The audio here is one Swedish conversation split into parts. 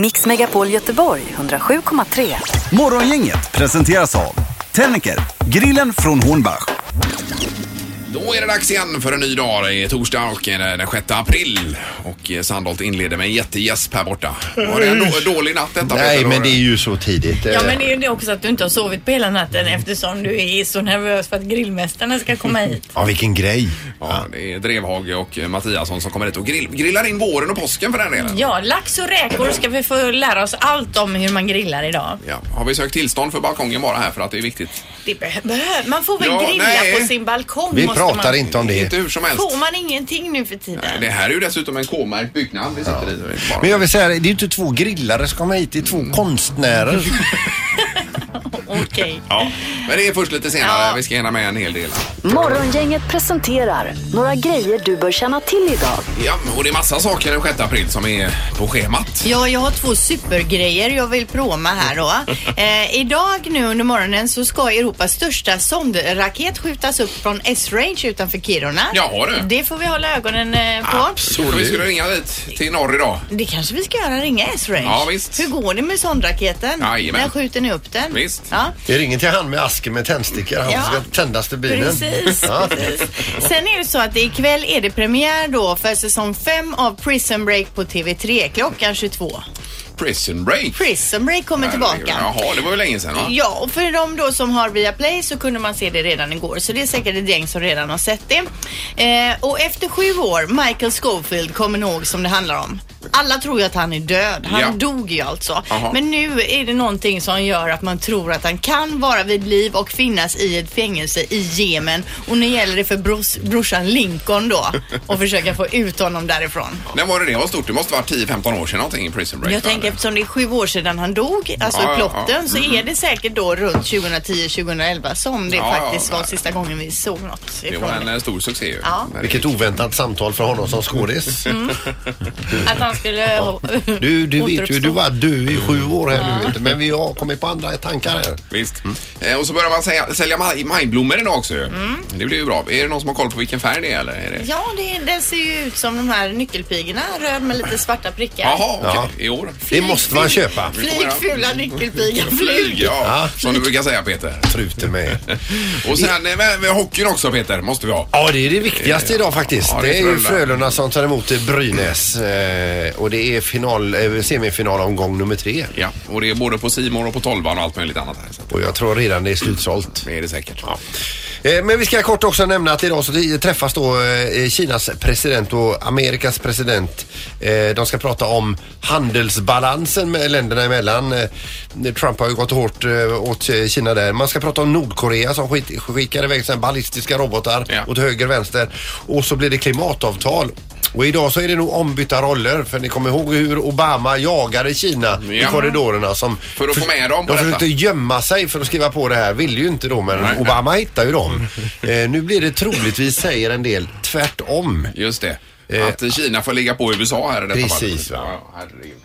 Mix Megapol Göteborg 107,3. Morgongänget presenteras av Tennicker, grillen från Hornbach. Då är det dags igen för en ny dag. Det är torsdag och eh, den 6 april. Och eh, Sandholt inleder med en jättegäsp här borta. Var det en då- dålig natt detta? Nej, Peter? men det är ju så tidigt. Ja men det är ju det också att du inte har sovit på hela natten eftersom du är så nervös för att grillmästarna ska komma hit. Ja, vilken grej. Ja, det är Drevhage och eh, Mattiasson som kommer hit och grill, grillar in våren och påsken för den delen. Ja, lax och räkor ska vi få lära oss allt om hur man grillar idag. Ja, har vi sökt tillstånd för balkongen bara här för att det är viktigt? Det be- behöver man. får väl Ja, grilla nej. på sin balkong? Vi måste pratar man. inte om det. Inte hur som helst. Får man ingenting nu för tiden? Det här är ju dessutom en K-märkt byggnad vi sitter i. nu, bara. Men jag vill säga, det är ju inte två grillare som kommer hit, det är två konstnärer. Okej. Ja, men det är först lite senare. Ja. Vi ska hinna med en hel del. Morgongänget presenterar några grejer du bör känna till idag. Ja, och det är massa saker den 6 april som är på schemat. Ja, jag har två supergrejer jag vill proma här då. Eh, idag nu under morgonen så ska Europas största sondraket skjutas upp från S-Range utanför Kiruna. Jaha, du. Det får vi hålla ögonen eh, på. Absolut. Vi skulle ringa dit till norr idag. Det kanske vi ska göra, ringa S-Range. Ja, visst. Hur går det med sondraketen? Jajamän. När skjuter ni upp den? Visst. Ja. Det ringer till han med asken med tändstickor, han Ja. som ska tändas till bilen. Precis, Ja. precis. Sen är det så att ikväll är det premiär då för säsong 5 av Prison Break på TV3 klockan 22. Prison Break. Prison Break kommer tillbaka. Jaha, det var ju länge sedan va? Ja, och för de då som har Viaplay så kunde man se det redan igår. Så det är säkert ett gäng som redan har sett det. Eh, och efter sju år, Michael Schofield kommer ni ihåg som det handlar om. Alla tror ju att han är död. Han Ja. dog ju alltså. Aha. Men nu är det någonting som gör att man tror att han kan vara vid liv och finnas i ett fängelse i Jemen. Och nu gäller det för bros, brorsan Lincoln då att försöka få ut honom därifrån. När var det det var stort? Det måste vara 10-15 år sedan någonting i Prison Break. Jag va? tänker eftersom det är sju år sedan han dog, alltså Ja, ja, i plotten, ja. så är det säkert då runt 2010-2011 som det Ja, faktiskt ja, var ja. sista gången vi såg något Det ifrån var en det. eh, stor succé ju. Ja. Men- Vilket oväntat samtal för honom som skådis. Mm. Att han skulle Du, du vet ju, återuppstå. du var du i sju år här nu, vet du, men vi har kommit på andra tankar här. Visst. Eh, och så börjar man säga, sälja maj, majblommor idag också ju. Det blir ju bra. Är det någon som har koll på vilken färg det är eller? Är det... Mm. Ja, det, det ser ju ut som de här nyckelpigorna, röd med lite svarta prickar. Jaha, okej. Ja. I år. Det måste man köpa. Flyg fula nyckelpiga, Flyg, flyg! ja. Ja. Som du brukar säga Peter. Trute med. Och sen eh, men- men hockeyn också Peter, måste vi ha. Ja, det är det viktigaste idag faktiskt. Ja, det är det är ju Frölunda. Frölunda som tar emot Brynäs eh, och det är final, eh, semifinalomgång nummer tre. Ja, och det är både på Simon och på tolvan och allt möjligt annat här. Så att Och jag tror redan det är slutsålt. det är det säkert. Eh, Men vi ska kort också nämna att idag så träffas då eh, Kinas president och Amerikas president. Eh, De ska prata om handelsbalansen med länderna emellan. Eh, Trump har ju gått hårt eh, åt eh, Kina där. Man ska prata om Nordkorea som skit- skickar iväg sina ballistiska robotar Ja. åt höger vänster. Och så blir det klimatavtal. Och idag så är det nog ombytta roller för ni kommer ihåg hur Obama jagade Kina i Ja. korridorerna som För att få med dem på de detta. försökte gömma sig för att skriva på det här. Vill ju inte då men Nej, nej. Obama hittar ju dem. Eh, nu blir det troligtvis, säger en del, tvärtom. Just det. Att Kina får ligga på USA här i detta Precis, fallet. va? Ja, herregud.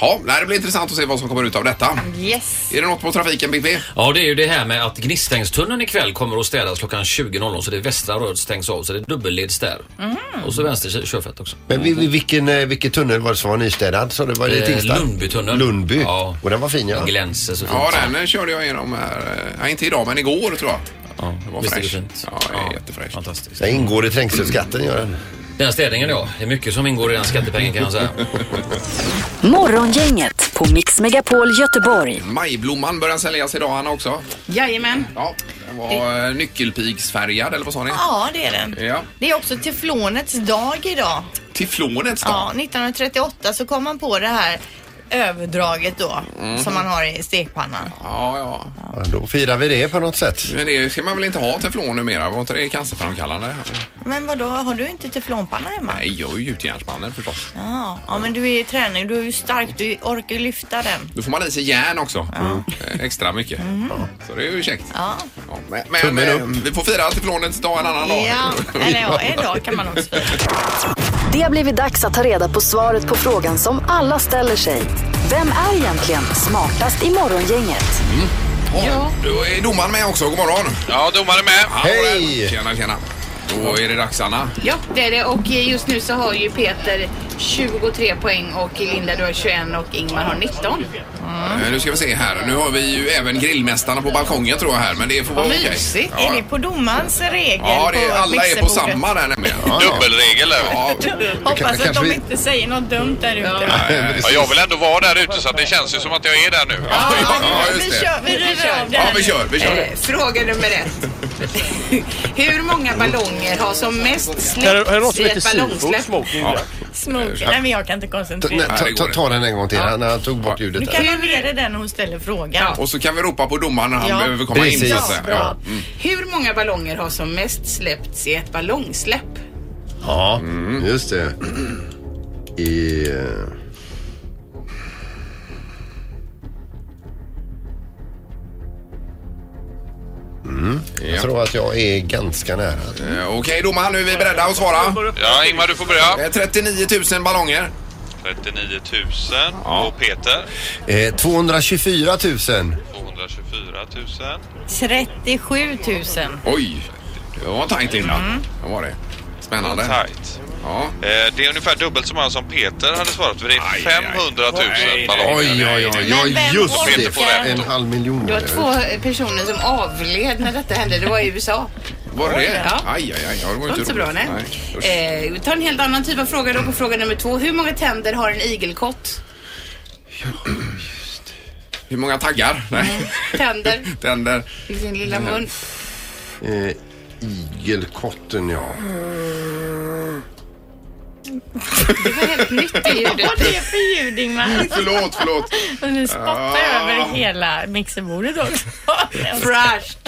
Ja, nej, det blir intressant att se vad som kommer ut av detta. Yes. Är det något på trafiken, BP? Ja, det är ju det här med att Gnistängstunneln ikväll kommer att städas klockan 20.00 så det västra röret stängs av så det är dubbelleds där. Mhm. Och så vänster kö- körfält också. Men vi, vi, vilken, eh, vilken tunnel var det som var nystädad? Så det var i Eh, Tingstad? Lundbytunneln. Lundby. Ja. Och den var fin ja. Den glänser så fint. Ja, den eh, körde jag igenom här. eh, inte idag, men igår tror jag. Ja, Det var visst är det fräscht. fint. Ja, det är jättefräscht. Fantastiskt. Den ingår i trängselskatten gör den. Den städningen ja, det är mycket som ingår i den skattepengen kan jag säga. Morgongänget på Mix Megapol Göteborg. Majblomman börjar säljas idag, Anna också. Jajamän. Ja, den var eh, nyckelpigsfärgad, eller vad sa ni? Ja, det är den. Ja. Det är också teflonets dag idag. Teflonets då? Ja, 1938 så kom man på det här överdraget då Mm. som man har i stekpannan. Ja, ja. Ja, då firar vi det på något sätt. Men det ska man väl inte ha teflon numera? Var inte det cancerframkallande? Men vad då har du inte teflonpanna hemma? Nej, jag är ju gjutjärnsmannen förstås. Ja, ja, men du är i träning, du är ju stark, du orkar ju lyfta den. Då får man i sig järn också. Eh, Extra mycket. Ja. Så det är ju käckt. Mm. Ja. Ja, men men Tummen eh, upp. vi får fira teflonens dag en annan dag. Ja, eller ja, en dag kan man också fira. Det har blivit dags att ta reda på svaret på frågan som alla ställer sig. Vem är egentligen smartast i morgongänget? Ja. Då är domaren med också. God morgon. Ja, domaren med. Hej! Tjena, tjena. Då är det dags, Anna. Ja, det är det. Och just nu så har ju Peter 23 poäng och Linda du har 21 och Ingmar har 19. Eh, Nu ska vi se här. Nu har vi ju även grillmästarna på balkongen tror jag här. Men det får vara Vad okej. mysigt. Ja. Är det på domarens regel? Ja, det är, på alla är på mixerbordet? samma där nämligen. Ja, ja. Dubbelregel där. Ja, eh, Hoppas att kanske de vi- inte säger något dumt där ute. Ja, jag vill ändå vara där ute så att det känns ju som att jag är där nu. ja, ja, Vi just det. kör, vi river av det Ja, här vi nu. kör, vi kör. Eh, Fråga nummer ett. Hur många ballonger har som mest Här, här släppts låter i lite ett sifo, ballonsläpp? smoking. där. Smok. Nej, men jag kan inte Ta, nej, koncentrera mig. ta, ta, ta den en gång till. Han, han tog bort Du ljudet. kan där. ha med dig den när hon ställer frågan. Och så kan vi ropa på domaren när han Ja. behöver komma in. Precis. Så att säga. Ja. Hur många ballonger har som mest släppts i ett ballongsläpp? Ja, Mm, just det. I... eh, Mm. Jag tror att jag är ganska nära. Eh, Okej domaren, nu är vi beredda att svara. Ja, Ingmar du får börja. Eh, 39 000 ballonger. 39 000 och Peter Eh, 224 000. 224 000. 37 000. Oj, det var tajt Linda. Mm. Det var det. Spännande. Tight. Ja. Eh, Det är ungefär dubbelt så många som Peter hade svarat för det Aj, aj, är 500 000 aj. ballonger. Oj, oj, oj. Ja, Men vem just orkar? det. En halv miljon. Det var två personer som avled när detta hände. Det var i USA. Var det det? Ja. Aj, aj, aj. Ja, det var Det var ju inte så bra, nej. usch. Eh, vi tar en helt annan typ av fråga då på fråga nummer två. Hur många tänder har en igelkott? Hur många Mm. taggar? Nej. Tänder Tänder. i sin lilla mun. Eh, igelkotten, ja. Det var helt nytt i ljudet. Vad är det för ljud Ingmar? Förlåt, förlåt. Och nu spottar Ah. över hela mixerbordet också. Fresh.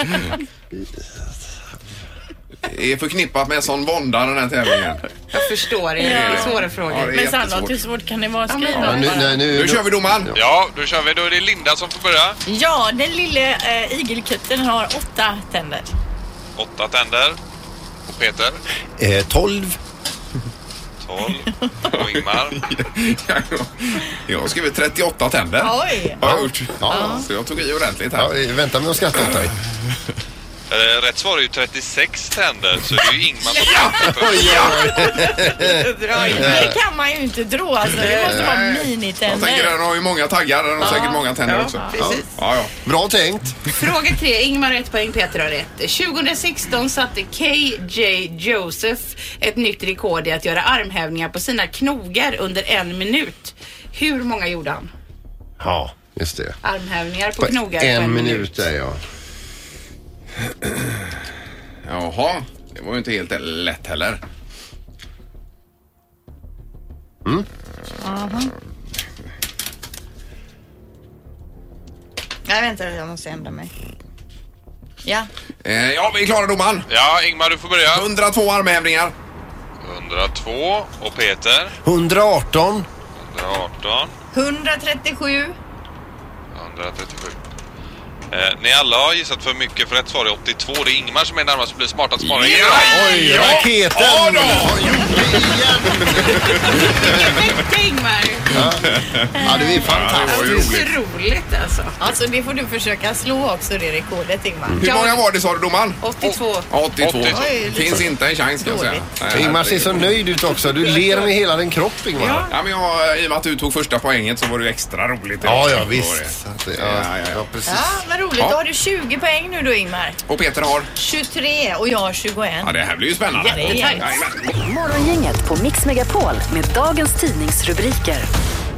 Det är förknippat med sån vånda den här tävlingen. Jag förstår det. Det är svåra Ja, det frågor. är Men Sandholt, hur jättesvårt. svårt kan det vara att ja skriva? nu, nej, nu, Nu kör vi domaren. Ja, då kör vi. Då är det Linda som får börja. Ja, den lille eh, igelkutten har åtta tänder. Åtta tänder. Och Peter. Eh, 12. 12. Och Ingmar. Jag har skrivit 38 tänder. Oj! Har jag gjort. Ja. Så jag tog i ordentligt Ja, här. eh, vänta med att skratta åt dig. Eh, Rätt svar är ju 36 tänder, så det är ju Ingmar som får Eh. Det kan man ju inte tro alltså. Det måste vara Jag tänker minitänder. den har ju många taggar. Den har säkert många tänder också. Precis. Ja, ja. Bra tänkt. Fråga tre. Ingmar har ett poäng, Peter har ett. 2016 satte KJ Joseph ett nytt rekord i att göra armhävningar på sina knogar under en minut. Hur många gjorde han? Ja, just det. Armhävningar på, På knogar på en minut där, ja. Jaha, det var ju inte helt lätt heller. Nej, vänta, jag måste ändra mig. Ja, Eh, ja, vi är klara domaren. Ja, Ingmar du får börja. 102 armhävningar. 102 och Peter. 118. 118. 137. 137. Eh, ni alla har gissat för mycket för rätt svar är 82. Det är Ingmar som är närmast och blir smartast bara. Oj, raketen! Ja, då. Perfekt Ingmar! Ja, du är fantastisk. Alltså, det är så roligt alltså. Alltså det får du försöka slå också det rekordet Ingmar. Hur många var det sa du domaren? 82. 82. 82. Finns inte en chans kan jag säga. Nej, Ingmar ser herregud. så nöjd ut också. Du ler med hela din kropp, Ingmar. Ja, men jag, I och med att du tog första poängen så var det ju extra roligt. Ja, Det ja, var visst. Att det- Ja, ja, ja. Ja, precis. Ja, vad roligt. Ja. Då har du 20 poäng nu då Ingmar. det. Och Peter har? 23 och jag har 21. Ja, det här blir ju spännande. det är jämnt. Jajamän. Morgongänget på Mix Megapol med dagens tidningsrubriker.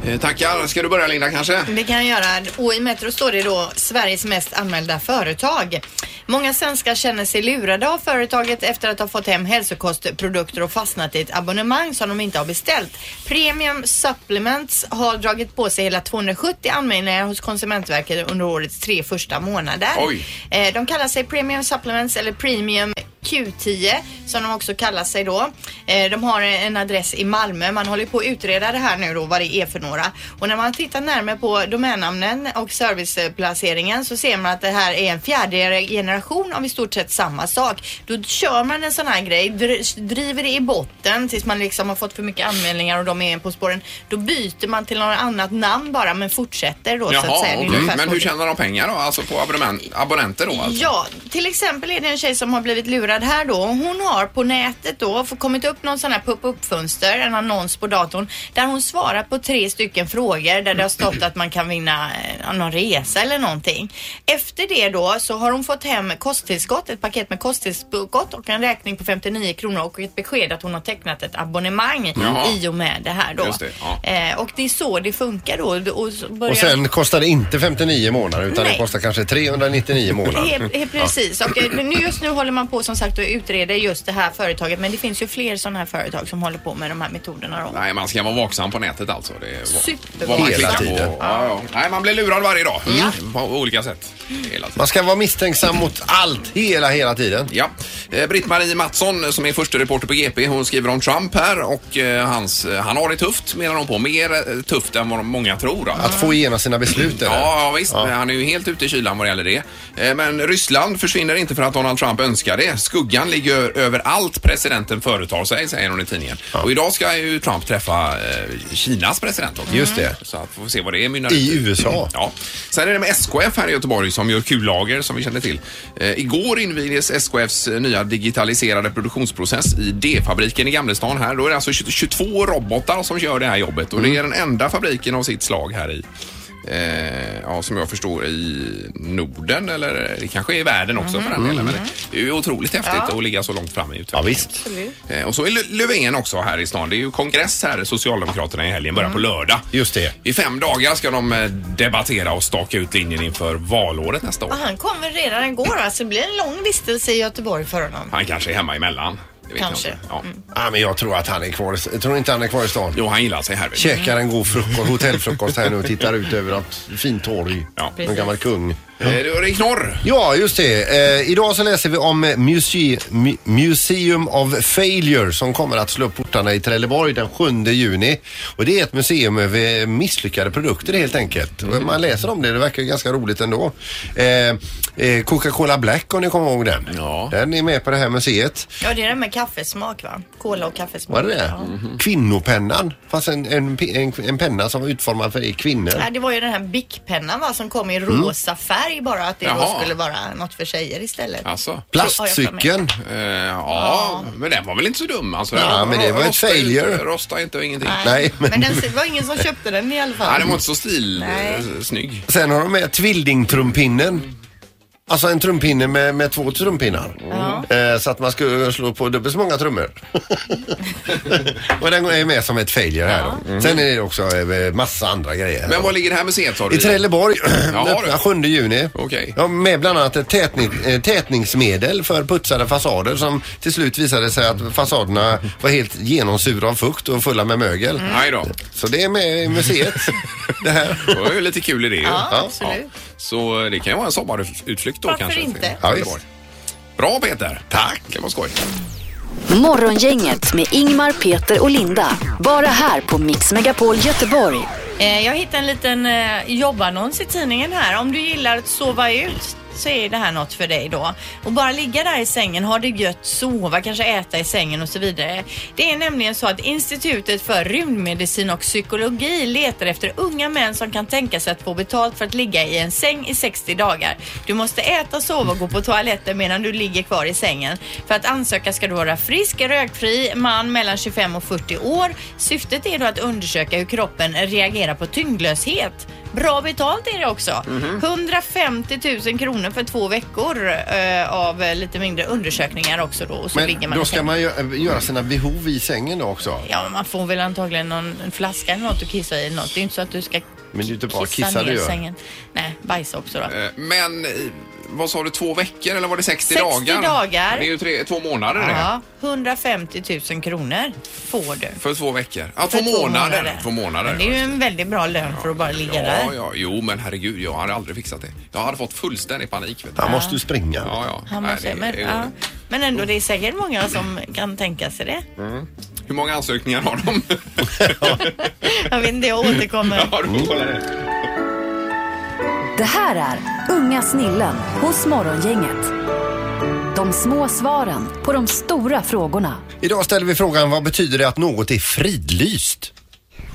Eh, Tackar. Ska du börja Linda kanske? Det kan jag göra. Och i Metro står det då Sveriges mest anmälda företag. Många svenskar känner sig lurade av företaget efter att ha fått hem hälsokostprodukter och fastnat i ett abonnemang som de inte har beställt. Premium Supplements har dragit på sig hela 270 anmälningar hos Konsumentverket under årets tre första månader. Oj. Eh, De kallar sig Premium Supplements eller Premium Q10 som de också kallar sig då. Eh, De har en adress i Malmö. Man håller på att utreda det här nu då vad det är för några. Och när man tittar närmare på domännamnen och serviceplaceringen så ser man att det här är en fjärde generation av i stort sett samma sak. Då kör man en sån här grej, dr- driver det i botten tills man liksom har fått för mycket anmälningar och de är på spåren. Då byter man till något annat namn bara men fortsätter då så att säga. Det är okej. ungefär Men så hur det- tjänar de pengar då? Alltså på abonnement, abonnenter då? Alltså? Ja, till exempel är det en tjej som har blivit lurad registrerad här då. Hon har på nätet då få- kommit upp någon sån här pop-up-fönster, en annons på datorn där hon svarar på tre stycken frågor där det har stått att man kan vinna eh, någon resa eller någonting. Efter det då så har hon fått hem kosttillskott, ett paket med kosttillskott och en räkning på 59 kronor och ett besked att hon har tecknat ett abonnemang Jaha. i och med det här då. Just det, ja. eh, och det är så det funkar då. Och, så börjar- Och sen kostar det inte 59 månader utan det Nej. kostar kanske 399 månader. Helt, helt precis. Och eh, nu- just nu håller man på som sagt att utreda just det här företaget. Men det finns ju fler sådana här företag som håller på med de här metoderna. Då. Nej, man ska vara vaksam på nätet alltså. Det är Super- vad- vad man Hela klickar på. tiden. Ja, ja. Nej, man blir lurad varje dag. Mm, På olika sätt. Hela tiden. Man ska vara misstänksam mot allt hela, hela tiden. Ja. Eh, Britt-Marie Mattsson som är första reporter på GP, hon skriver om Trump här och eh, hans, han har det tufft menar hon på. Mer eh, tufft än vad många tror. Alltså. Att få igenom sina beslut. eller? Ja, ja visst. Men Han är ju helt ute i kylan vad det gäller det. Eh, Men Ryssland försvinner inte för att Donald Trump önskar det. Skuggan ligger ö- över allt presidenten företar sig, säger hon i tidningen. Och idag ska ju Trump träffa eh, Kinas president också. Just det. Så att vi får se vad det mynnar I ut USA. Ja. Sen är det med SKF här i Göteborg som gör kullager som vi känner till. Eh, igår invigdes SKFs eh, nya digitaliserade produktionsprocess i D-fabriken i Gamlestan här. Då är det alltså 20 22 robotar som gör det här jobbet och Mm. det är den enda fabriken av sitt slag här i Eh, ja, som jag förstår i Norden eller eh, det kanske är i världen också Mm. för den delen. Men det är ju otroligt häftigt att ligga så långt fram i utvecklingen. Ja, visst. Eh, och så är Lö- Löfven också här i stan. Det är ju kongress här, Socialdemokraterna i helgen, börjar på lördag. Mm. Just det. I fem dagar ska de eh, debattera och staka ut linjen inför valåret nästa år. Och han kommer redan igår va? så det blir en lång vistelse i Göteborg för honom. Han kanske är hemma emellan. Det vet jag Kanske. Mm. inte. Ja. Ja, men jag tror att han är kvar. i- Jag tror inte han är kvar i stan. Jo, han gillar sig här. vet du. Käkar en god frukost, hotellfrukost här nu och tittar ut över ett fint torg. Ja. En gammal kung. Eh, då är det knorr. Ja, just det. Eh, idag så läser vi om eh, Muse- Mu- Museum of Failure som kommer att slå upp portarna i Trelleborg den 7 juni. Och det är ett museum över misslyckade produkter helt enkelt. Och Man läser om det, det verkar ju ganska roligt ändå. Eh, eh, Coca-Cola Black om ni kommer ihåg den. Ja. Den är med på det här museet. Ja, det är det med kaffesmak va? Cola och kaffesmak. Var det det? Kvinnopennan. Fast en, en, pe- en, en penna som var utformad för kvinnor. Nej, det var ju den här Bic-pennan va, som kom i Mm. rosa färg bara. Att det då Jaha. skulle vara något för tjejer istället. Alltså. Plastcykeln. Eh, ja, men den var väl inte så dum? Alltså, Ja, Den men det var ett rosta inte- failure. Rosta inte och ingenting. Nej. Nej, men- men... den, det var ingen som köpte den i alla fall. den var inte så stil, Nej. eh, snygg. Sen har de med tvillingtrumpinnen. Alltså en trumpinne med, med två trumpinnar. Eh, så att man skulle slå på dubbelt så många trummor. och den är med som ett failure här då. Sen är det också eh, massa andra grejer. Mm. Men var ligger det här museet sa du? I Trelleborg, Ja, öppnar du. 7 juni. Okej. Ja, med bland annat ett tätning, eh, tätningsmedel för putsade fasader som till slut visade sig att fasaderna var helt genomsura av fukt och fulla med mögel. Nej då. Så det är med i museet. det här. Det var ju lite kul i det. Ja, ju. absolut. Så eh, det kan ju vara en sommarutflykt då Varför kanske. inte? till Ja, Göteborg. Bra Peter! Tack! Det var skoj. Morgongänget med Ingmar, Peter och Linda. Bara här på Mix Megapol Göteborg. Eh, Jag hittade en liten eh, jobbannons i tidningen här. Om du gillar att sova ut så är det här något för dig då. Och bara ligga där i sängen, ha det gött, sova, kanske äta i sängen och så vidare. Det är nämligen så att Institutet för rymdmedicin och psykologi letar efter unga män som kan tänka sig att få betalt för att ligga i en säng i 60 dagar. Du måste äta, sova och gå på toaletten medan du ligger kvar i sängen. För att ansöka ska du vara frisk, rökfri, man mellan 25 och 40 år. Syftet är då att undersöka hur kroppen reagerar på tyngdlöshet. Bra betalt är det också. Mhm. 150 000 kronor för två veckor eh, av eh, lite mindre undersökningar också då. Och så ligger Men man i då ska sängen. man gö- göra sina behov i sängen då också. Ja, men man får väl antagligen någon en flaska eller något att kissa i. eller Något. Det är ju inte så att du ska Men det är ju inte bara kissa, kissa du ner gör. sängen. Nej, bajsa också då. Eh, Men eh, vad sa du, två veckor eller var det 60, 60 dagar? dagar. Det är ju tre, två månader det. Ja, 150 000 kronor får du. För två veckor. Ja, två, För två månader. månader. Två månader. Men det är ju en väldigt bra lön för att bara ligga där. Ja, ja, jo men herregud, jag hade aldrig fixat det. Jag hade fått fullständig panik. Vet du. Han måste ju springa. Ja, ja. Han Nej, måste, det- men, det- ja. men ändå, det är säkert många som kan tänka sig det. Hur många ansökningar har de? Jag vet inte, jag återkommer. ja, du får kolla det. Det här är Unga snillen hos Morgongänget. De små svaren på de stora frågorna. Idag ställer vi frågan vad betyder det att något är fridlyst?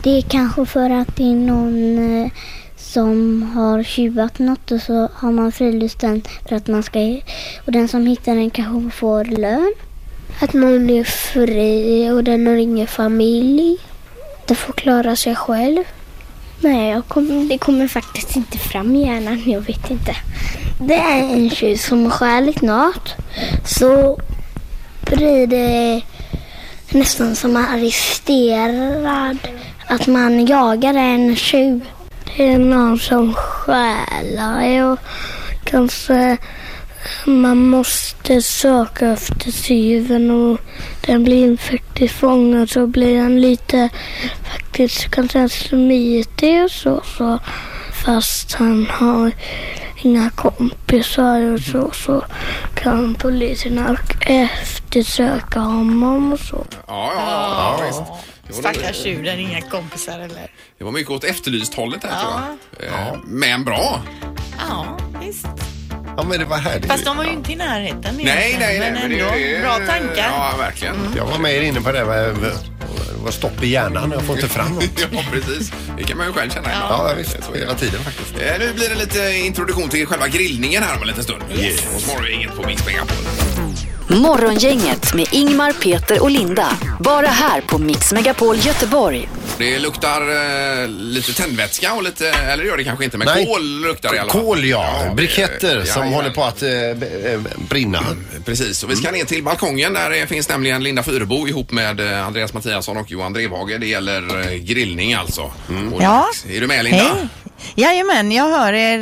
Det är kanske för att det är någon eh, som har tjuvat något och så har man frilyst den för att man ska... Och den som hittar den kanske får lön. Att man är fri och den har ingen familj. Den får klara sig själv. Nej, jag kom, det kommer faktiskt inte fram i hjärnan. Jag vet inte. Det är en tjuv som stjälit något. Så blir det nästan som arresterad. Att man jagar en tjuv. Det är någon som stjälar och kanske man måste söka efter tjuven och den blir faktiskt fångad så blir han lite faktiskt kanske smitig och så, så fast han har inga kompisar och så, så kan poliserna eftersöka honom och så. Ja, ja, ja, ja visst. Det var, Stackars tjuren, inga kompisar eller? det var mycket åt efterlyst-hållet här tror jag. Eh, Men bra! Ja, visst. Ja, men det var härligt. Fast de var ju inte i närheten Nej, egentligen, nej, nej. Men det ändå, är- bra tankar. Mm. Ja, verkligen. Jag var med er inne på det. Med, det var stopp i hjärnan. Jag får inte fram något. Ja, precis. Det kan man ju själv känna ibland. Ja, Så visst. är det. Hela tiden faktiskt. Eh, Nu blir det lite introduktion till själva grillningen här om en liten stund. Yes. Hos Morgongänget på Mix Megapol. Morgongänget med Ingmar, Peter och Linda. Bara här på Mix Megapol Göteborg. Det luktar eh, lite tändvätska och lite, eller gör det kanske inte, men Nej. kol luktar i alla fall. Kol, ja. det- Briketter ja, som ja. håller på Mm. att eh, b- eh, brinna. Precis, och vi ska ner till balkongen. Där eh, finns nämligen Linda Fyrebo ihop med eh, Andreas Mattiasson och Johan Drevhage. Det gäller eh, grillning alltså. Mm. Och Ja. Är du med Linda? Hej. Jajamän, jag hör er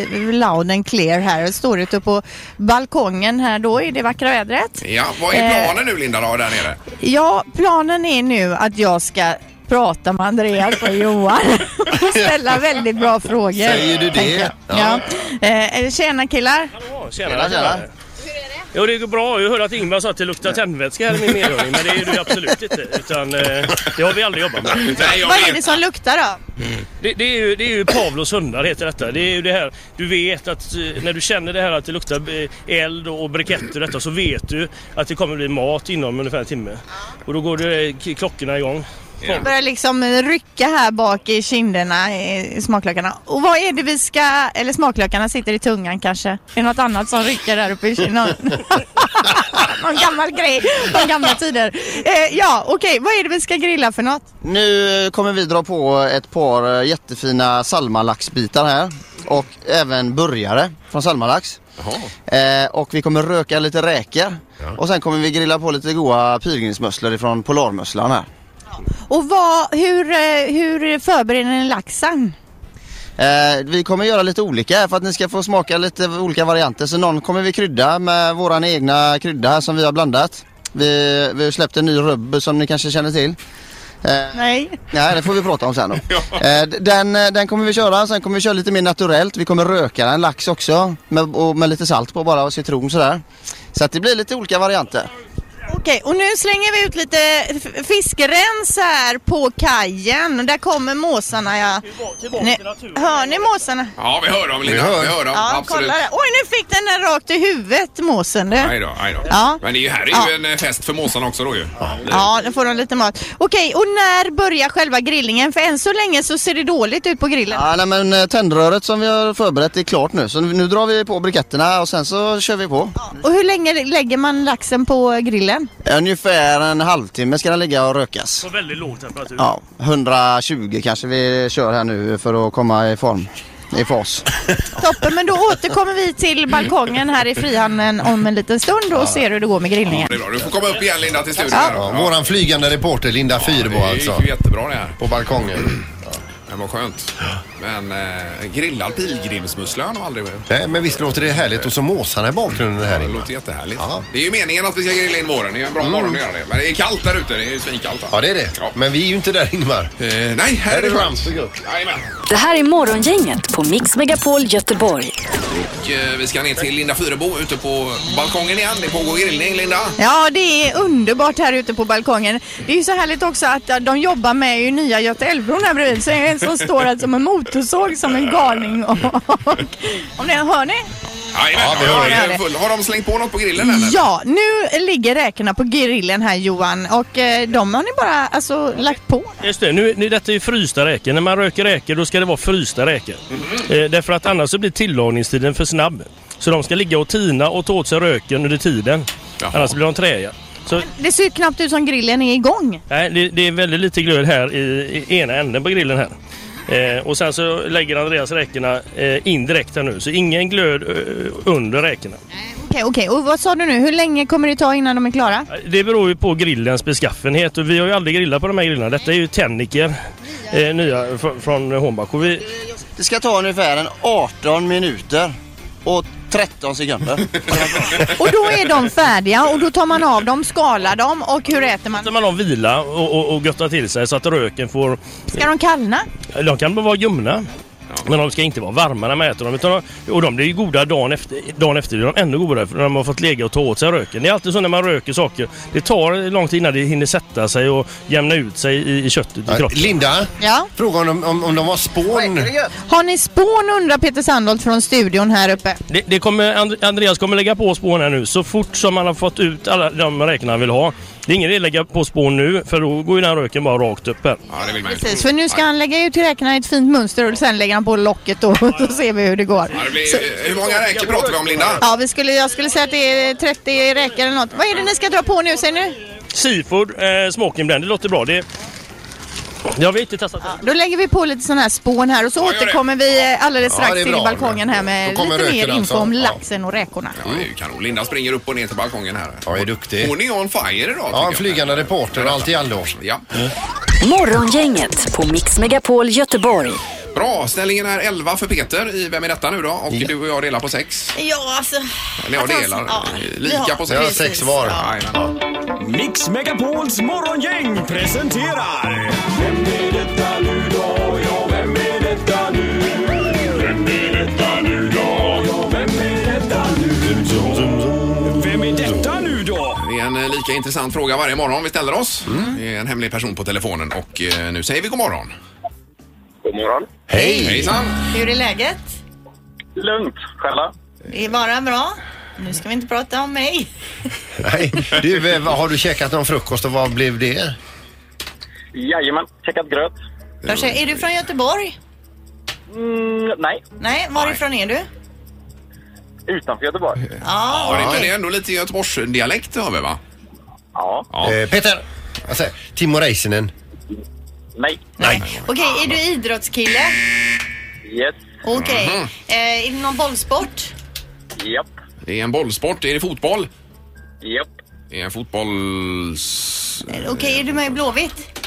eh, loud and clear här. Jag står ute på balkongen här då i det vackra vädret. Ja, vad är Eh. planen nu Linda då där nere? Ja, planen är nu att jag ska prata med Andreas och Johan och ställa väldigt bra frågor. Säger du det? tänker jag. Ja. Eh, eh, tjena killar! Tjena, tjena. Jo, det går bra. Jag hörde att Ingmar sa att det luktar tändvätska här i min medhörning, men det är det absolut inte. Utan, eh, det har vi aldrig jobbat med. Nej, jag Vad är vet. det som luktar då? Det, det, är, ju, det är ju Pavlos hundar heter detta. Det är ju det här, du vet att eh, när du känner det här att det luktar eh, eld och briketter och detta så vet du att det kommer bli mat inom ungefär en timme. Och då går det, eh, klockorna igång. Det börjar liksom rycka här bak i kinderna, i smaklökarna. Och vad är det vi ska... Eller smaklökarna sitter i tungan kanske. Är det något annat som rycker där uppe i kinderna? Någon gammal grej från gamla tider. Eh, ja, okej. Vad är det vi ska grilla för något? Nu eh, kommer vi dra på ett par eh, jättefina salmalaxbitar här och även burgare från salmalax. Eh, och vi kommer röka lite räkor och sen kommer vi grilla på lite goda pilgrimsmusslor ifrån polarmusslan här. Och vad, hur, eh, hur förbereder ni laxen? Eh, vi kommer göra lite olika här för att ni ska få smaka lite olika varianter. Så någon kommer vi krydda med våran egna krydda här som vi har blandat. Vi, vi har släppt en ny rubb som ni kanske känner till. Eh, Nej. Nej, det får vi prata om sen då. Eh, d- Den, eh, den kommer vi köra, sen kommer vi köra lite mer naturellt. Vi kommer röka en lax också med, och med lite salt på bara och citron sådär. Så att det blir lite olika varianter. Okej, och nu slänger vi ut lite f- fiskrens här på kajen. Där kommer måsarna ja. Ni, hör ni måsarna? Ja, vi hör dem Linda. Vi Vi hör, hör. dem, Ja, absolut. kolla där. Oj, nu fick den den rakt i huvudet, måsen du. Aj då, aj då. Ja. Men det är ju, här är ju Ja. en eh, fest för måsarna också då ju. Ja, då får de lite mat. Okej, och när börjar själva grillningen? För än så länge så ser det dåligt ut på grillen. Ja, nej, men eh, tändröret som vi har förberett är klart nu. Så nu drar vi på briketterna och sen så kör vi på. Och hur länge lägger man laxen på grillen? Ungefär en halvtimme ska den ligga och rökas. På väldigt låg temperatur. Ja, 120 kanske vi kör här nu för att komma i form. I fas. Toppen, men då återkommer vi till balkongen här i Frihamnen om en liten stund och ser hur det går med grillningen. Det är bra. Du får komma upp igen Linda till studion. Ja. här då. Ja, våran flygande reporter Linda Fyrebo Det gick alltså. ju jättebra det här. På balkongen. Men vad skönt. Men eh, grillad pilgrimsmussla har jag nog aldrig Nej, men visst låter det härligt. Och så måsarna i bakgrunden här Det inne. låter jättehärligt. Ja. Det är ju meningen att vi ska grilla in våren. Det är ju en bra morgon att göra det. Men det är kallt där ute. Det är ju svinkallt. va? Ja, det är det. Ja. Men vi är ju inte där Ingmar. Eh, nej, här är det skönt. Jajamän. Det här är Morgongänget på Mix Megapol Göteborg. Och, eh, vi ska ner till Linda Fyrebo ute på balkongen igen. Det pågår grillning, Linda. Ja, det är underbart här ute på balkongen. Det är ju så härligt också att de jobbar med ju nya Göta Älvbron här bredvid. Så är det en som står här som en motorsåg som en galning. Och, och, om ni, hör ni? Jajamän, vi hör har, det. full- har de slängt på något på grillen eller? Ja, nu ligger räkorna på grillen här Johan och eh, de har ni bara alltså lagt på. Just det, nu, nu, detta är ju frysta räkor. När man röker räkor då ska det vara frysta räkor. Eh, därför att annars så blir tillagningstiden för snabb. Så de ska ligga och tina och ta åt sig röken under tiden. Annars blir de träiga. Så, Det ser ju knappt ut som grillen är igång. nej, det, det är väldigt lite glöd här i, i ena änden på grillen här. Eh, och sen så lägger Andreas räkorna eh, indirekt här nu. Så ingen glöd eh, under räkorna. Okej, okej. Och vad sa du nu? Hur länge kommer det ta innan de är klara? Det beror ju på grillens beskaffenhet och vi har ju aldrig grillat på de här grillarna. Detta är ju Tenniker, eh, nya fr- från Hornbach. Och vi, Det ska ta ungefär en 18 minuter och 13 sekunder. Och då är de färdiga och då tar man av dem, skalar dem och hur äter man? låter man dem vila och, och, och götta till sig så att röken får... Ska de kallna? De kan vara ljumna. Men de ska inte vara varma när man äter dem. Utan de, och de blir ju goda dagen efter. Dagen efter blir de ännu godare för när de har fått lägga och ta åt sig röken. Det är alltid så när man röker saker. Det tar lång tid innan det hinner sätta sig och jämna ut sig i, i köttet i kroppen. Linda, ja? fråga om, de- om, om de var spån. Har ni spån undrar Peter Sandholt från studion här uppe. Det, det kommer, And- Andreas kommer lägga på spån här nu så fort som man har fått ut alla de räkorna han vill ha. Det är ingen idé att lägga på spån nu för då går ju den här röken bara rakt upp här. Ja, det vill man inte. Precis, för nu ska han lägga ut räkorna i ett fint mönster och sen lägger han på locket och så ser vi hur det går. Ja, det blir, hur många räkor pratar vi om Linda? Ja, vi skulle, jag skulle säga att det är 30 räkor eller något. Vad är det ni ska dra på nu, säger ni? Seafood eh, smoking blend, det låter bra. Det, det har vi inte testat än. Då lägger vi på lite sån här spån här och så återkommer vi eh, alldeles Ja, strax det är till bra. balkongen här med Då kommer lite mer röken info alltså. om Ja. laxen och räkorna. Ja, det är ju kanon. Linda springer upp och ner till balkongen här. Ja, är duktig. Hon är on fire idag. Ja, en flygande reporter och allt i allo. Ja. Morgongänget på Mix Megapol Göteborg. Bra, ställningen är 11 för Peter i Vem är detta nu då? Och du och jag delar på 6. Ja, alltså. Eller jag att han- delar. ja, Lika ja, på 6. precis. Ja. Mix Megapols morgongäng presenterar... Vem är detta nu då? Ja, vem är detta nu? Vem är detta nu då? Ja, vem är detta nu då? Vem är detta nu då? Det är en eh, lika intressant fråga varje morgon vi ställer oss. Mm. Det är en hemlig person på telefonen och eh, nu säger vi god morgon. God morgon. Hej! Hejsan! Hur är läget? Lugnt. Själva? Det är bara bra. Nu ska vi inte prata om mig. Nej. Du, eh, vad- har du käkat någon frukost och vad blev det? Jajamän. Checkat gröt. Jag säger, är du från Göteborg? Mm, nej. Nej, varifrån är du? Utanför Göteborg. Ja, Ja, det- men okej. det är ändå lite Göteborgsdialekt över va? Ja. Eh, Peter, vad säger Timo Räisänen? Nej. Nej. Okej, är du idrottskille? Yes. Okej. Mhm. Eh, är det någon bollsport? Japp. Det är en bollsport. Är det fotboll? Japp. Det är en fotbolls... Okej, är du med i Blåvitt?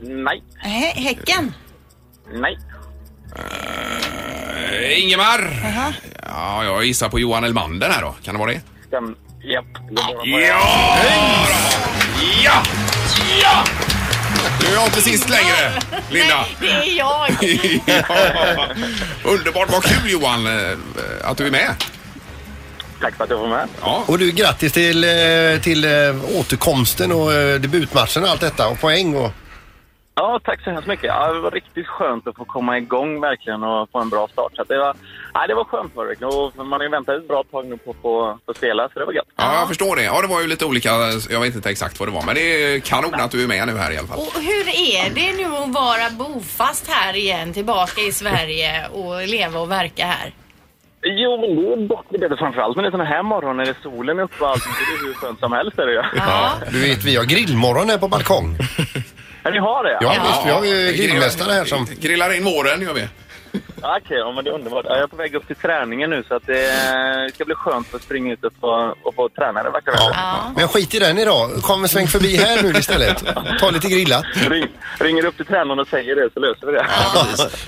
Nej. Hä häcken? Nej. Eh, Ingemar! Jaha. Ja, jag gissar på Johan Elmander här då. Kan det vara det? Stäm. Ah, Japp. Ja! Ja! Ja! Nu är jag inte sist längre, Linda. Det är jag. ja. Underbart, vad kul Johan eh, att du är med. Tack för att jag får med. Ja. Och du, grattis till, eh, till eh, återkomsten och eh, debutmatchen och allt detta och poäng och... Ja, tack så hemskt mycket. Ja, det var riktigt skönt att få komma igång verkligen och få en bra start. Så att det, var, ja, det var skönt var det. Och man har ju väntat ett bra tag nu på att få få spela, så det var gött. Ja, jag förstår det. Ja, det var ju lite olika. Jag vet inte exakt vad det var, men det är kanon att du är med nu här i alla fall. Och hur är det nu att vara bofast här igen, tillbaka i Sverige och leva och verka här? Jo, men det är bättre, bättre framförallt men det är såna här morgoner när solen är uppe och allt. Det är hur skönt som helst är det ju. Ja. Du vet, vi har grillmorgon här på balkong. Ja, ni har det? Ja, visst, vi har ju grillmästare här som... Grillar in våren gör vi. Ja, Okej, ja, men det är underbart. Ja, Jag är på väg upp till träningen nu så att det eh, ska bli skönt att springa ut och få, och få träna det vackra vädret. Men skit i den idag. Kom och sväng förbi här nu istället. Ta lite grillat. Ring, ringer upp till tränaren och säger det så löser vi det.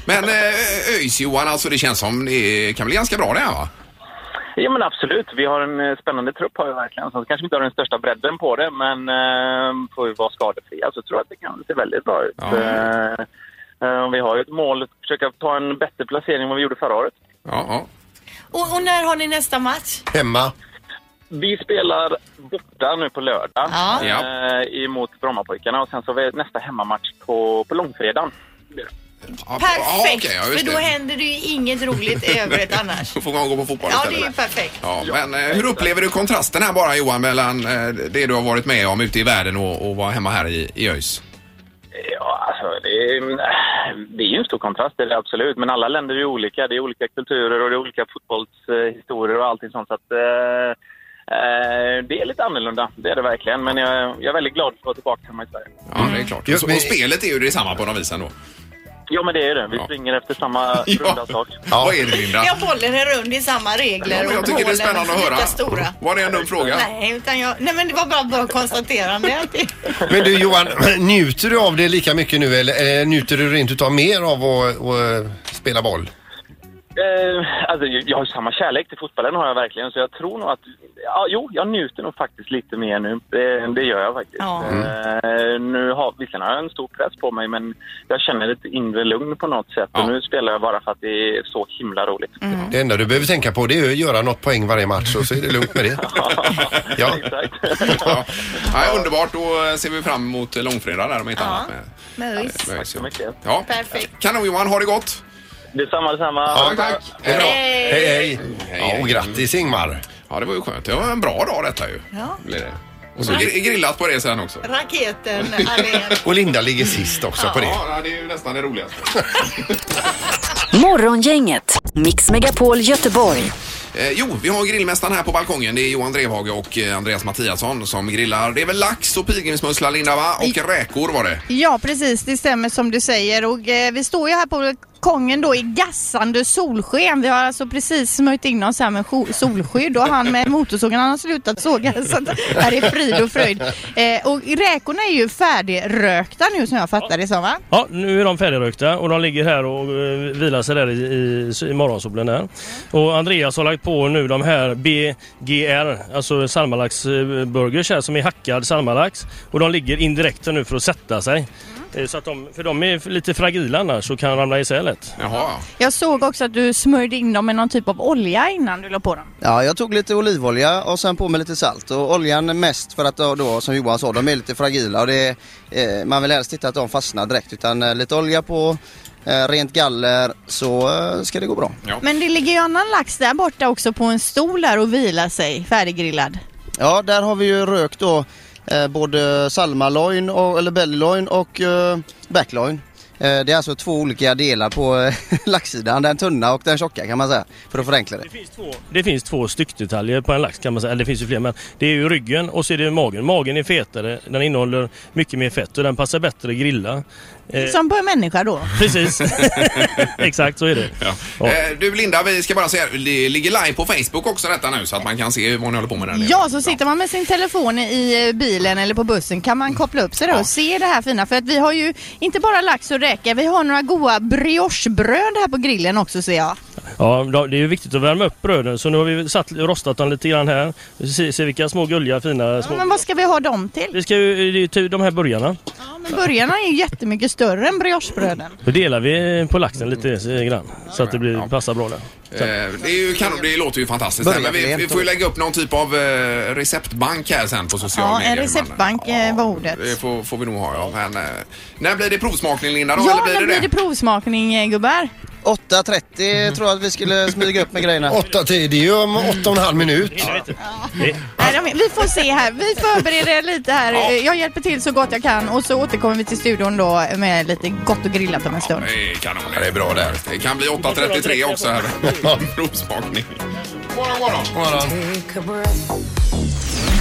Men eh, ÖIS-Johan, alltså det känns som det kan bli ganska bra det här va? Ja men absolut, vi har en eh, spännande trupp har vi verkligen. Sen kanske vi inte har den största bredden på det men eh, får vi vara skadefria så tror jag att det kan se väldigt bra ut. Eh, eh, vi har ju ett mål att försöka ta en bättre placering än vad vi gjorde förra året. Och, och när har ni nästa match? Hemma. Vi spelar borta nu på lördag Ja. eh, emot Brommapojkarna och sen så har vi nästa hemmamatch på, på långfredagen. Ja, ja, Perfekt, okej, ja, just för då det. händer det ju inget roligt i övrigt annars. Då får man gå på fotboll Ja, det istället. är ju perfekt. Ja, men eh, hur upplever du kontrasten här bara Johan mellan eh, det du har varit med om ute i världen och, och vara hemma här i, i ÖIS? Ja, alltså, det, är, eh, det är ju en stor kontrast, det är det absolut. Men alla länder är ju olika. Det är olika kulturer och det är olika fotbollshistorier och allting sånt. Så att, eh, eh, det är lite annorlunda, det är det verkligen. Men jag, jag är väldigt glad för att vara tillbaka hemma i Sverige. Ja, det är klart. Och, så, och spelet är ju detsamma på något vis ändå. Ja, men det är det. Vi springer efter samma runda sak. Ja. Vad är det Linda? Jag bollen är rund i samma regler Ja, men jag tycker det är målen spännande att lika höra. Stora. Var det en dum fråga? Nej, utan jag, nej, men det var bara bra konstaterande. Men du Johan, njuter du av det lika mycket nu eller, eller njuter du rent utav mer av att, att spela boll? Eh, alltså, jag jag har ju samma kärlek till fotbollen har jag verkligen, så jag tror nog att... Ja, jo, jag njuter nog faktiskt lite mer nu. Det, det gör jag faktiskt. Ja. Eh, nu har, visserligen har jag en stor press på mig, men jag känner ett inre lugn på något sätt. Och nu spelar jag bara för att det är så himla roligt. Det enda du behöver tänka på det är att göra något poäng varje match och så är det lugnt med det. Ja. ja. Ja, underbart, då eh, ser vi fram emot eh, långfredag där om inte annat. Med, Med ÖIS. med ÖIS, ja. Ja. Perfekt. Kanon Johan, ha det gott! Detsamma, detsamma. Ja, tack. Hej, då. Hej, hej! Ja, och grattis Ingmar! Ja, det var ju skönt. Det var en bra dag detta ju. Ja. Blev det. Och så gr- grillat på det sen också. Raketen, Allén. Och Linda ligger sist också på det. Ja, det är ju nästan det roligaste. Morgongänget, Mix Megapol Göteborg. Eh, jo, vi har grillmästaren här på balkongen. Det är Johan Drevhage och eh, Andreas Mattiasson som grillar. Det är väl lax och pilgrimsmussla, Linda, va? Och räkor var det. Ja, precis. Det stämmer som du säger. Och, eh, vi står ju här på balkongen då i gassande solsken. Vi har alltså precis smörjt in oss här med jo- solskydd och han med motorsågen han har slutat såga. Så att här är frid och fröjd. Eh, och räkorna är ju färdigrökta nu som jag fattar det som va? Ja, nu är de färdigrökta och de ligger här och eh, vilar sig där i, i, i morgonsolen där. Och Andreas har lagt på nu de här BGR, alltså salmalaxburgers här som är hackad salmalax. Och de ligger indirekt nu för att sätta sig. Eh, Så att de, för de är lite fragila annars så kan de ramla isär lätt. Jaha. Jag såg också att du smörjde in dem med någon typ av olja innan du la på dem. Ja, jag tog lite olivolja och sen på med lite salt. Och oljan är mest för att då, då, som Johan sa, de är lite fragila och det, är, eh, man vill helst inte att de fastnar direkt utan eh, lite olja på, eh, rent galler så eh, ska det gå bra. Ja. Men det ligger ju annan lax där borta också på en stol där och vilar sig färdiggrillad. där har vi ju rökt då eh, både salmaloin, och, eller bellyloin och eh, backloin. Eh, det är alltså två olika delar på eh, laxsidan, den tunna och den tjocka kan man säga för att förenkla det. Det finns två styckdetaljer på en lax kan man säga, eller det finns ju fler men det är ju ryggen och så är det magen. Magen är fetare, den innehåller mycket mer fett och den passar bättre att grilla. Eh, Som på en människa då. Precis. Exakt så är det. Eh, du Linda, vi ska bara säga, det ligger live på Facebook också detta nu så att man kan se vad ni håller på med där nere. Ja, så sitter man med sin telefon i eh, bilen eller på bussen kan man koppla upp sig då och se det här fina. För att vi har ju inte bara lax och räka, vi har några goda briochebröd här på grillen också ser jag. Ja, då- det är ju viktigt att värma upp bröden så nu har vi satt, rostat dem lite grann här. Se, se vilka små gulliga fina små... Men vad ska vi ha dem till? Vi ska ju det är ju till de här burgarna. Ja, men burgarna är ju jättemycket större än briochebröden. Då delar vi på laxen lite eh, grann så att det blir, passar bra där. Eh, det, är ju kanon, det låter ju fantastiskt. Börja Men vi, med vi en får ju tår. lägga upp någon typ av eh, receptbank här sen på sociala Ja, en medier. receptbank eh, var ordet. Det får, får vi nog ha ja. Men, eh, när blir det provsmakning Linda då? Ja, eller blir när det blir det provsmakning eh, gubbar? 8.30 tror jag att vi skulle smyga upp med grejerna. 8 till, det är ju om 8,5 minut. Nej, de, vi får se här. Vi förbereder lite här. Eh, Jag hjälper till så gott jag kan och så återkommer vi till studion då med lite gott och grillat om en stund. Det är kanon. Det är bra där. Det kan bli 8.33 också här. Provsmakning.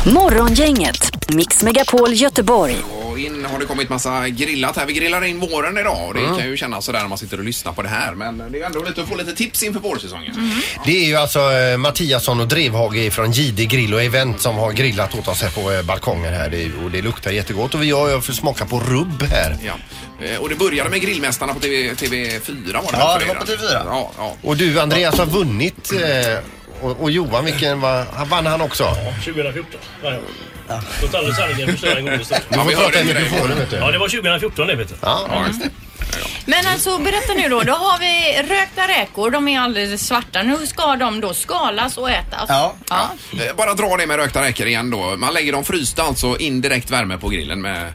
Morgongänget, Mix Megapol Göteborg. Och in har det kommit massa grillat här. Vi grillar in våren idag och det kan ju kännas sådär när man sitter och lyssnar på det här. Men det är ändå lite att få lite tips inför vårsäsongen. Det är ju alltså eh, Mattiasson och Drevhage från JD Grill och Event som har grillat åt oss här på eh, balkongen här. Det, är- och det luktar jättegott och vi har ju fått smaka på rubb här. Ja. Eh, Och det började med Grillmästarna på TV, TV4 var det Ja, väl för det var er? på TV4. Ja, ja. Och du Andreas har vunnit eh, och, och Johan vilken var, han vann han också? 2014. Låt aldrig sanningen förstöra en god historia. Du får prata i mikrofonen vet du. Ja, det var 2014 det vet du. Ja, Men alltså berätta nu då. Då har vi rökta räkor. De är alldeles svarta. Nu ska de då skalas och ätas. Ja. Eh, Bara dra det med rökta räkor igen då. Man lägger dem frysta alltså indirekt värme på grillen med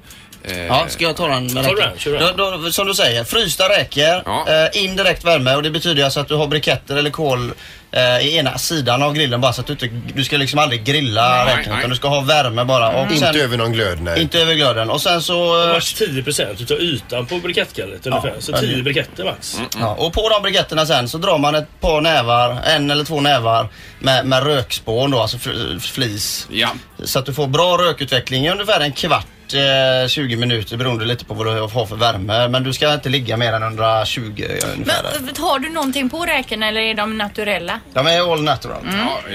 Ja, ska jag ta den med Ta räkor? den, kör den. Då, då, Som du säger, frysta räkor, eh, indirekt värme och det betyder alltså att du har briketter eller kol eh, i ena sidan av grillen bara så att du inte, du ska liksom aldrig grilla Nej, räkorna nej. utan du ska ha värme bara. Mm. Och Inte över någon glöd, nej. Inte över glöden. Och sen så... eh, Max 10 utav ytan på brikettkallet ungefär. Så ja, 10 det- briketter max. Ja, och på de briketterna sen så drar man ett par nävar, en eller två nävar med, med rökspån då, alltså fl- flis. Så att du får bra rökutveckling i ungefär en kvart, eh, 20 minuter beroende lite på vad du har för värme. Men du ska inte ligga mer än 120 ungefär. Men eh, har du någonting på räkorna eller är de naturella? Mm. De är all natural.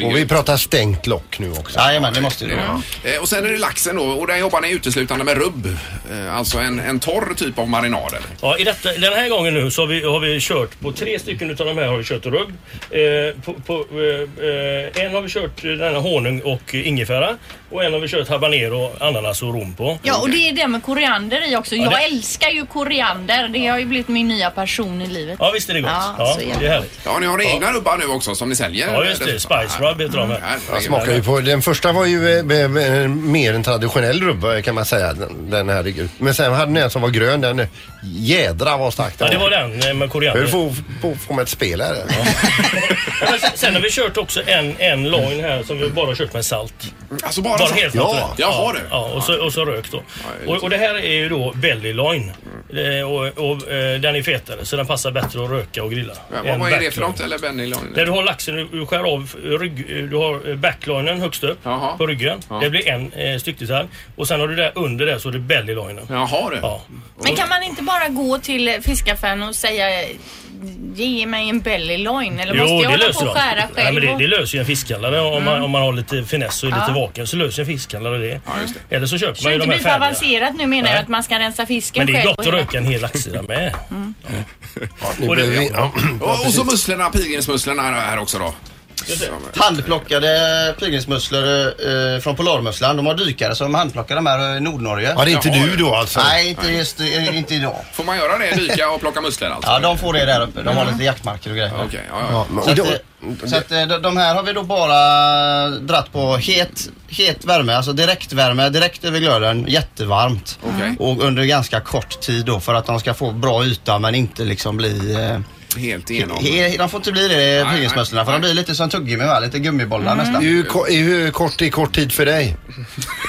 Och vi pratar stängt lock nu också. Jajamän, det måste det är det. Eh, Och sen är det laxen då och där jobbar ni uteslutande med rubb. Eh, Alltså en, en torr typ av marinad eller? Ja, i detta, den här gången nu så har vi, har vi kört på tre stycken utav de här har vi kört rubb. Eh, på, på, eh, eh, en har vi kört eh, den här honung och eh, ingefära. Och en har vi kört habanero, ananas och rom på. Ja, och det är det med koriander i också. Ja, Jag det- älskar ju koriander. Det har ju blivit min nya passion i livet. Ja, visst är det gott. Ja, Ja, så det är härligt. Ja, ni har egna rubbar nu också som ni säljer? Ja, just det. Spice rub heter de här. Mm, Jag smakar ju på, den första var ju eh, be- be- mer en traditionell rubbe kan man säga. Den, den här, ligger. men sen hade ni en som var grön. Den, eh, jädra vad stark Ja, det var var. den eh, med koriander. Hur får, får, får man ett spel här? Ja, men sen- Sen har vi kört också en, en line här som vi bara har kört med salt. Alltså bara salt? helt Ja, naturligt. jaha, du. Ja, och så, och så rök då. Och, och det här är ju då belly line. Eh, Och, och, eh, den är fetare så den passar bättre att röka och grilla. Men än vad, vad är det för backline. något? Eller Benny Lund? Där du har laxen, du- du skär av eh, rygg, eh, du har eh, backlinen högst upp på ryggen. Ja. Det blir en eh, styckdetalj. Och sen har du där under där så är det bellylinen. Jaha du. Ja. Men kan man inte bara gå till eh, fiskaffären och säga ge mig en belly loin? Eller måste jag hålla på och skära själv? Nej, men det, och- det löser ju en fiskhandlare om, Mm. man, om man har lite finess och är Ja. lite vaken så löser en fiskhandlare det. Eller så köper Så man det ju inte de blir här för färdiga. avancerat nu menar Nej. jag att man ska rensa fisken Men det är själv gott och att hela- röka en hel laxsida med. nu Och det- blir vi- ja. Och, och så musslorna, pilgrimsmusslorna här, här också då. Handplockade pilgrimsmusslor eh, från polarmusslan. De har dykare som handplockar de här eh, i Nordnorge. Ja, det är inte du då alltså? Nej, inte, Just, eh, inte idag. Får man göra det? Dyka och plocka musslor alltså? Ja, de får det där uppe. De har lite jaktmarker och grejer. Okej, ja, ja. Så, att, eh, så att, eh, de- de här har vi då bara dratt på het, het värme, alltså direktvärme, direkt över glöden, jättevarmt. Mm. Okej. Och under ganska kort tid då för att de ska få bra yta men inte liksom bli... eh, Helt igenom. he- De får inte bli det, pilgrimsmössorna, för de blir lite som tuggummi va? Lite gummibollar nästan. Hur, ko- hur kort är kort tid för dig?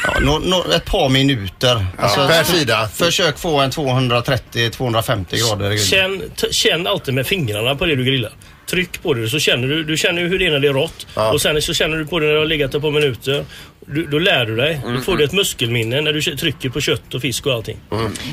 Ja, nå- nå- ett par minuter. per sida. Försök få en 230-250 grader. i grillen. Känn, t- känn alltid med fingrarna på det du grillar. Tryck på det så känner du, du känner ju hur det är när det är rått. Och sen så känner du på det när det har legat ett par minuter. Du, då lär du dig. Du får du ett muskelminne när du k- trycker på kött och fisk och allting.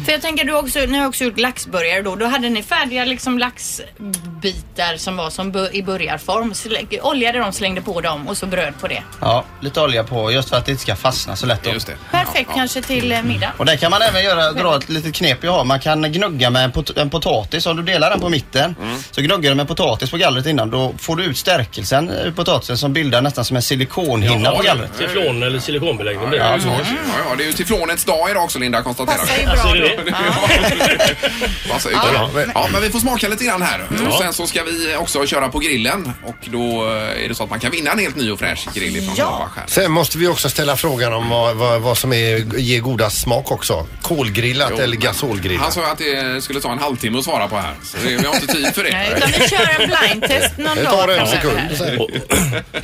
För jag tänker, du har också, ni har också gjort laxburgare då. Då hade ni färdiga liksom laxbitar som var som bu- i burgarform. Slä- Oljade dem, slängde på dem och så bröd på det. Ja, lite olja på just för att det inte ska fastna så lätt. Just Perfekt kanske till eh, middag. Och det kan man även göra, dra ett litet knep jag har. Man kan gnugga med en, pot en potatis. Om du delar den på mitten Mm. så gnuggar du med potatis på gallret innan. Då får du ut stärkelsen ur potatisen som bildar nästan som en silikonhinna på gallret. Teflon eller silikonbeläggning. Ja, ja, ja, det är ju teflonets dag idag också Linda konstaterar Passar ju vi. bra Alltså, är det Ja. Passar ju Ja. bra. ja, men vi får smaka lite grann här. Och sen så ska vi också köra på grillen och då eh, är det så att man kan vinna en helt ny och fräsch grill ifrån Kronbach här. Sen måste vi också ställa frågan om vad, vad, vad som är, ger godast smak också. Kolgrillat eller Han gasolgrillat. sa ju att det skulle ta en halvtimme att svara på här. Så det, vi har inte tid för det. Nej, utan vi kör en blindtest någon dag. framöver. Och,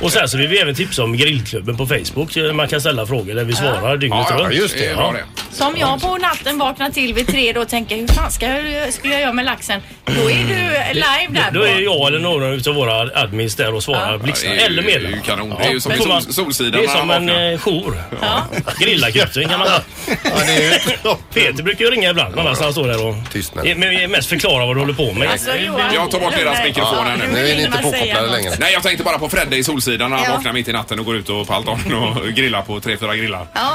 och sen så vill vi även tipsa om grillklubben på Facebook. så Man kan ställa frågor där vi svarar dygnet Ja, ja, runt. just det. Ja, det. Som jag på natten vaknar till vid tre då och tänker hur fan ska jag, skulle jag göra med laxen? Då är du eh, live där Då är på. jag eller några utav våra admins där och svarar blixtsnabbt. det är ju- Eller det är ju medlemmar. kanon. Det är ju som men i får man- Sol- Solsidan Det är när han som en vaknar. eh, jour. Grillakutten kan man Peter brukar ju ringa ibland annars han står där och... Tystnad. Men mest förklara vad du håller på med. Alltså, Johan, Jag tar bort lugna deras dig. mikrofon här nu. Nu vill Ingmar säga något. Nej, jag tänkte bara på Fredde i Solsidan när han Ja. vaknar mitt i natten och går ut och på altanen och grillar på tre, fyra grillar. Ja,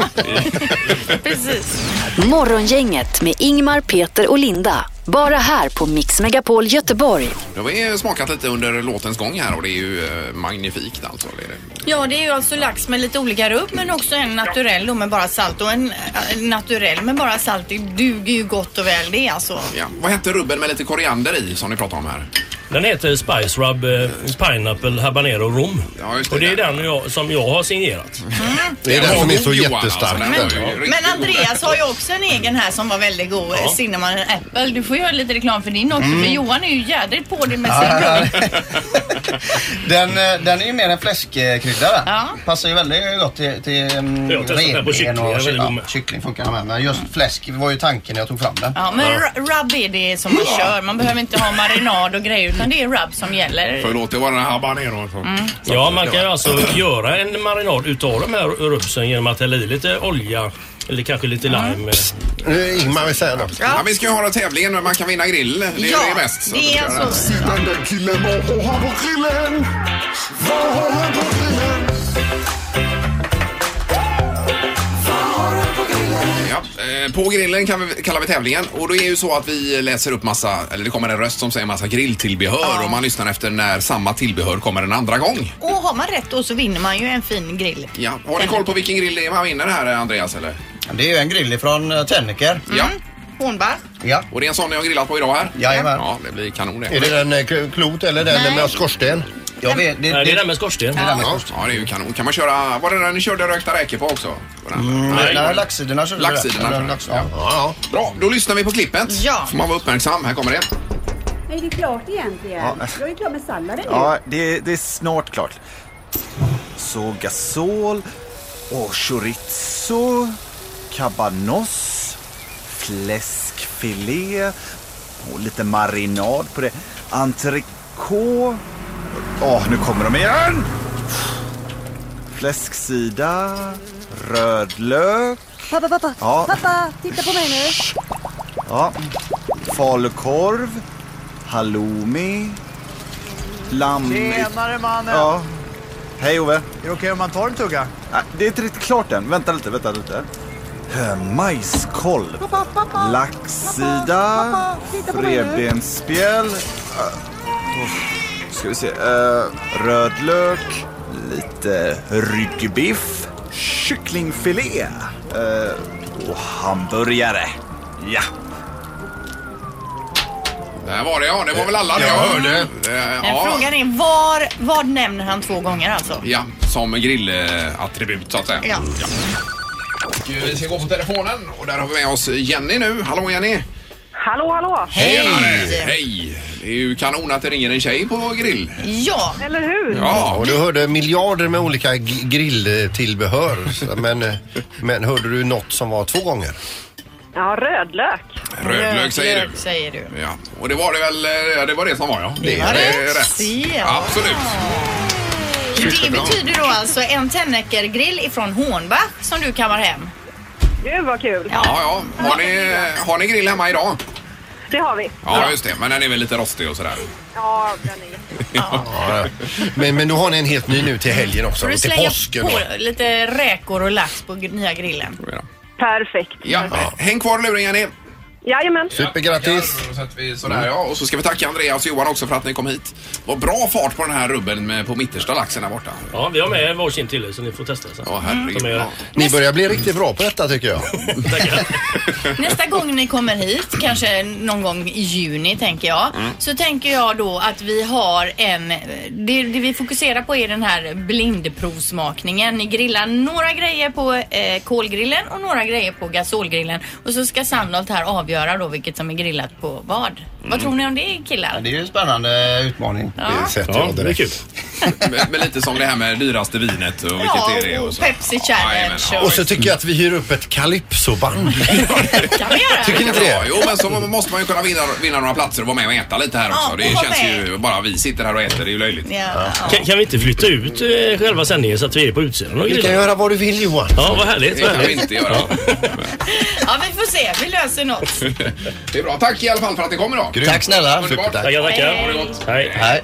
precis. Morgongänget med Ingmar, Peter och Linda. Bara här på Mix Megapol Göteborg. Nu har vi eh, smakat lite under låtens gång här och det är ju eh, magnifikt alltså. Det är det. Ja, det är ju alltså lax med lite olika rubb men också en naturell då med bara salt och en eh, naturell med bara salt. Det duger ju gott och väl det alltså. Ja. Vad hette rubben med lite koriander i som ni pratade om här? Den heter Spice Rub eh, Pineapple Habanero Rom. och det är den jag, som jag har signerat. Det är den som är så alltså. jättestark. Men Andreas har ju också en egen här som var väldigt god. Ja. Cinnamon and apple. Du får göra lite reklam för din också, för Mm. Johan är ju jädrigt på det med sin Den, eh, den är ju mer en fläskkrydda. va? Ja. Passar ju väldigt gott till, till mm, Jag har testat den på kyckling, den är väldigt god kyckling. Kyckling funkar den med. Men just fläsk var ju tanken när jag tog fram den. Ja, men ru- rub är det som man kör. Man behöver inte ha marinad och grejer utan det är rub som gäller. Förlåt, det var den här habaneron. Mm. Ja, man kan ju alltså göra en marinad utav de här rubsen genom att hälla i lite olja eller kanske lite lime. Ingmar vill säga något. Ja, vi ska ju ha den tävlingen men man kan vinna grill. Det är Ja, det bäst. det är alltså- Se den där killen, vad har han på grillen? Vad har han på grillen? Ja, eh, på grillen kan vi, kallar vi tävlingen och då är det ju så att vi läser upp massa, eller det kommer en röst som säger massa grilltillbehör och man lyssnar efter när samma tillbehör kommer en andra gång. Och har man rätt då så vinner man ju en fin grill. Ja, har ni koll på vilken grill det är man vinner här eh, Andreas eller? Det är ju en grill ifrån Tänneker. Mm. Ja. Hornbach. Ja. Och det är en sån ni har grillat på idag här? Jajamän. Ja, det blir kanon det. Är det den eh, k- klot eller den med skorsten? Jag vet, Nej, det är den med skorsten. Ja. Ja, det är ju kanon. Kan man köra, var det den ni körde rökta räkor på också? Mm, nej, nej, laxsidorna körde vi rätt. Laxsidorna. Eller lax- ja. Ja, ja. Bra, då lyssnar vi på klippet. Ja. Får man vara uppmärksam. Här kommer det. Är det klart egentligen? Ja. Jag är klar med salladen nu. Ja, det, det är snart klart. Så gasol och chorizo, cabanos, fläskfilé och lite marinad på det. Entrecote. Åh, nu kommer de igen! Fläsksida, rödlök, Pappa, pappa, Ja. pappa, titta på mig nu. ja, falukorv, halloumi, lamm... Tjenare mannen! Ja. Hej Ove. Är det okej om man tar en tugga? Nej, Det är inte riktigt klart än. Vänta lite, vänta lite. Eh, Majskolv. Laxsida. titta på mig nu. Revbensspjäll. eh, uff, ska vi se. eh, Rödlök. Lite ryggbiff. Kycklingfilé. eh, Och hamburgare. Ja. Där var det ja, det var väl alla det jag hörde. Eh, Men Ja, frågan är var, vad nämner han två gånger alltså? ja som grillattribut så att säga. Ja. Och, eh, Vi ska gå på telefonen och där har vi med oss Jenny nu. Hallå Jenny! Hallå, hallå! Hej! Hej! Det är ju kanon att det ringer en tjej på grill. Ja! Eller hur? Ja, och du hörde miljarder med olika g- grilltillbehör. Så, Men, eh, men hörde du något som var två gånger? Ja, rödlök. Rödlök säger du. Säger du. Ja, och det var det väl, eh, det var det som var ja. Det var är rätt. Ja. Absolut. Det Superbra. betyder då alltså en Tennecker-grill ifrån Hornbach som du kammar hem. Gud vad kul! Ja, ja. Har ni, har ni grill hemma idag? Det har vi. Ja, just det. Men den är väl lite rostig och sådär. Ja, den är... Ja. Men, men nu har ni en helt ny nu till helgen också. Får du och Till slänga påsken. på lite räkor och lax på gr- nya grillen. Perfekt. Ja, häng kvar i luren Jenny. Mm. Jajamän. Supergrattis! Sådär ja. Och så ska vi tacka Andreas och Johan också för att ni kom hit. Vad bra fart på den här rubben med, på mittersta laxen där borta. Ja, vi har med varsin till så ni får testa sen. Ja, herregud. Mm. Ni börjar bli riktigt bra på detta tycker jag. Nästa gång ni kommer hit, kanske någon gång i juni tänker jag, Mm. så tänker jag då att vi har en, det, det vi fokuserar på är den här blindprovsmakningen. Ni grillar några grejer på eh, kolgrillen och några grejer på gasolgrillen och så ska Sandholt här avgöra då vilket som är grillat på vad. Mm. Vad tror ni om det killar? Det är ju en spännande utmaning. Ja. Det sätter jag direkt. Men, men lite som det här med dyraste vinet och vilket Ja, är det och så. Pepsi Challenge. Och så tycker jag att vi hyr upp ett calypsoband. Tycker ni inte det? Ja, jo, men så måste man ju kunna vinna, vinna några platser och vara med och äta lite här Ja, också. Det och vara känns med. ju, bara vi sitter här och äter, det är ju löjligt. Ja. Kan, kan vi inte flytta ut eh, själva sändningen så att vi är på utsidan och Du kan grillar? göra vad du vill Johan. Ja, vad härligt. Det Vad kan vi härligt. inte göra. Ja, vi får se. Vi löser något. Det är bra. Tack i alla fall för att ni kom idag. Tack snälla. Underbart. Tackar, tackar. Ha det gott. Hej. Hej.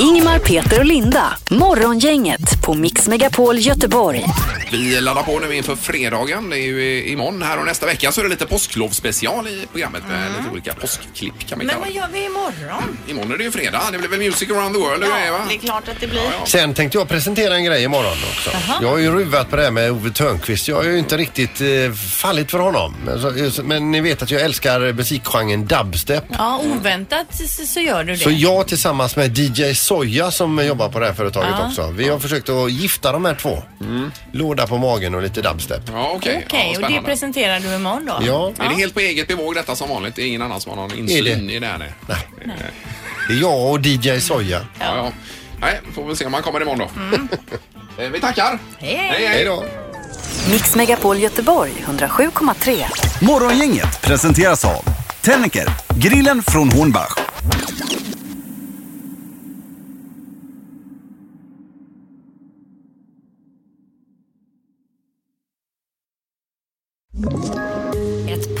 Ingmar, Peter och Linda. Morgongänget på Mix Megapol Göteborg. Vi laddar på nu inför fredagen. Det är ju i- imorgon här och nästa vecka så är det lite påsklovsspecial i programmet med lite olika påskklipp kan vi Men kalla vad det. gör vi imorgon? Imorgon är det ju fredag. Det blir väl Music around the world? eller? det är klart att det blir. Sen tänkte jag presentera en grej imorgon också. Jaha. Jag har ju ruvat på det här med Ove Thörnqvist. Jag har ju inte riktigt eh, fallit för honom. Men, så, men ni vet att jag älskar musikgenren dubstep. Ja, oväntat så- så gör du det. Så jag tillsammans med DJ Soja som jobbar på det här företaget Ja. också. Vi har försökt att gifta de här två. Låda på magen och lite dubstep. Ja, okej. Okej, ja, och det spännande. presenterar du imorgon då? Ja. Är det helt på eget bevåg detta som vanligt? Det är ingen annan som har någon insyn i det här? Nej. Nej. Det är jag och DJ Soja. Ja, ja. Nej, får vi se om han kommer imorgon då. Mm. Eh, Vi tackar! Hej, hej. Hej då. Mix Megapol Göteborg 107,3. Morgongänget presenteras av Tennicker, grillen från Hornbach. Ett